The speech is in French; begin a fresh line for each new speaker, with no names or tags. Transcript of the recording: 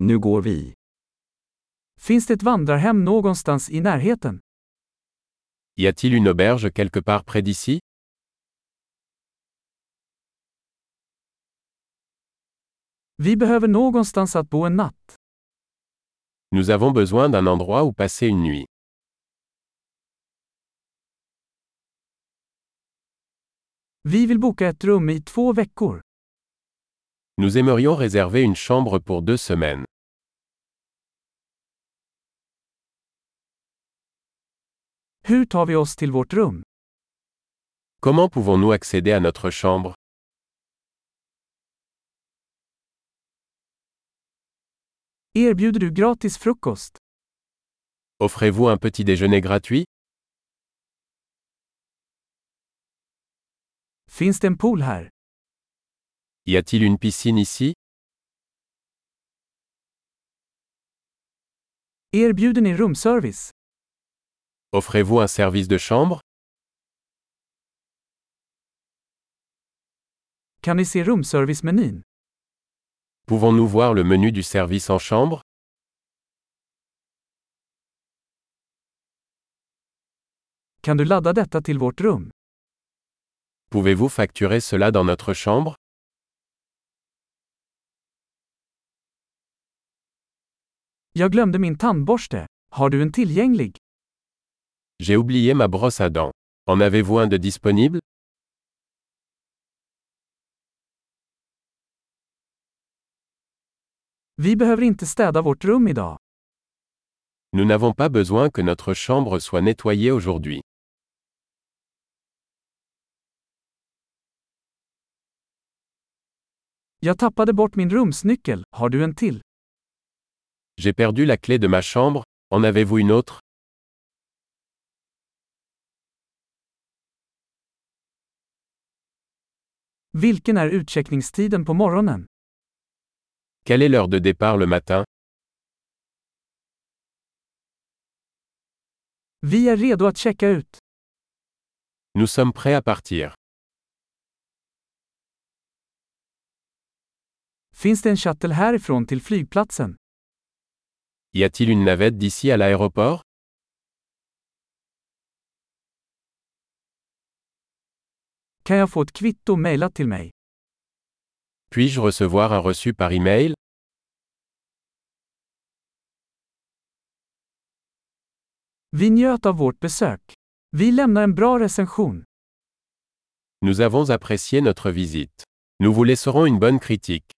Nu går vi.
Finns det ett vandrarhem någonstans i närheten?
Y a-t-il une auberge quelque part près d'ici
Vi behöver någonstans att bo en natt.
Nous avons besoin d'un endroit où passer une nuit.
Vi vill boka ett rum i två veckor.
Nous aimerions réserver une chambre pour deux semaines.
Hur tar vi oss till vårt rum?
Comment pouvons-nous accéder à notre chambre
Erbjuder du gratis frukost?
Offrez-vous un petit déjeuner gratuit
Finns det en pool här?
Y a-t-il une piscine ici
Erbjuder ni rumservice?
Offrez-vous un service de chambre
Kan ni se rumservice-menyn?
Pouvons-nous voir le menu du service en chambre
Kan du ladda detta till vårt rum?
Pouvez-vous facturer cela dans notre chambre
Jag glömde min tandborste. Har du en tillgänglig?
J'ai oublié ma brosse à dents. En avez-vous un de disponible
Vi behöver inte städa vårt rum idag.
Nous n'avons pas besoin que notre chambre soit nettoyée aujourd'hui.
Jag tappade bort min rumsnyckel. Har du en till?
J'ai perdu la clé de ma chambre, en avez-vous une autre
Vilken är utcheckningstiden på morgonen?
Quelle est l'heure de départ le matin
Vi är redo att checka ut.
Nous sommes prêts à partir.
Finns det en shuttle härifrån till flygplatsen?
Y a-t-il une navette d'ici à l'aéroport
Kan jag få ett kvitto mejlat till mig?
Puis-je recevoir un reçu par email
Vi njöt av vårt besök. Vi lämnar en bra recension.
Nous avons apprécié notre visite. Nous vous laisserons une bonne critique.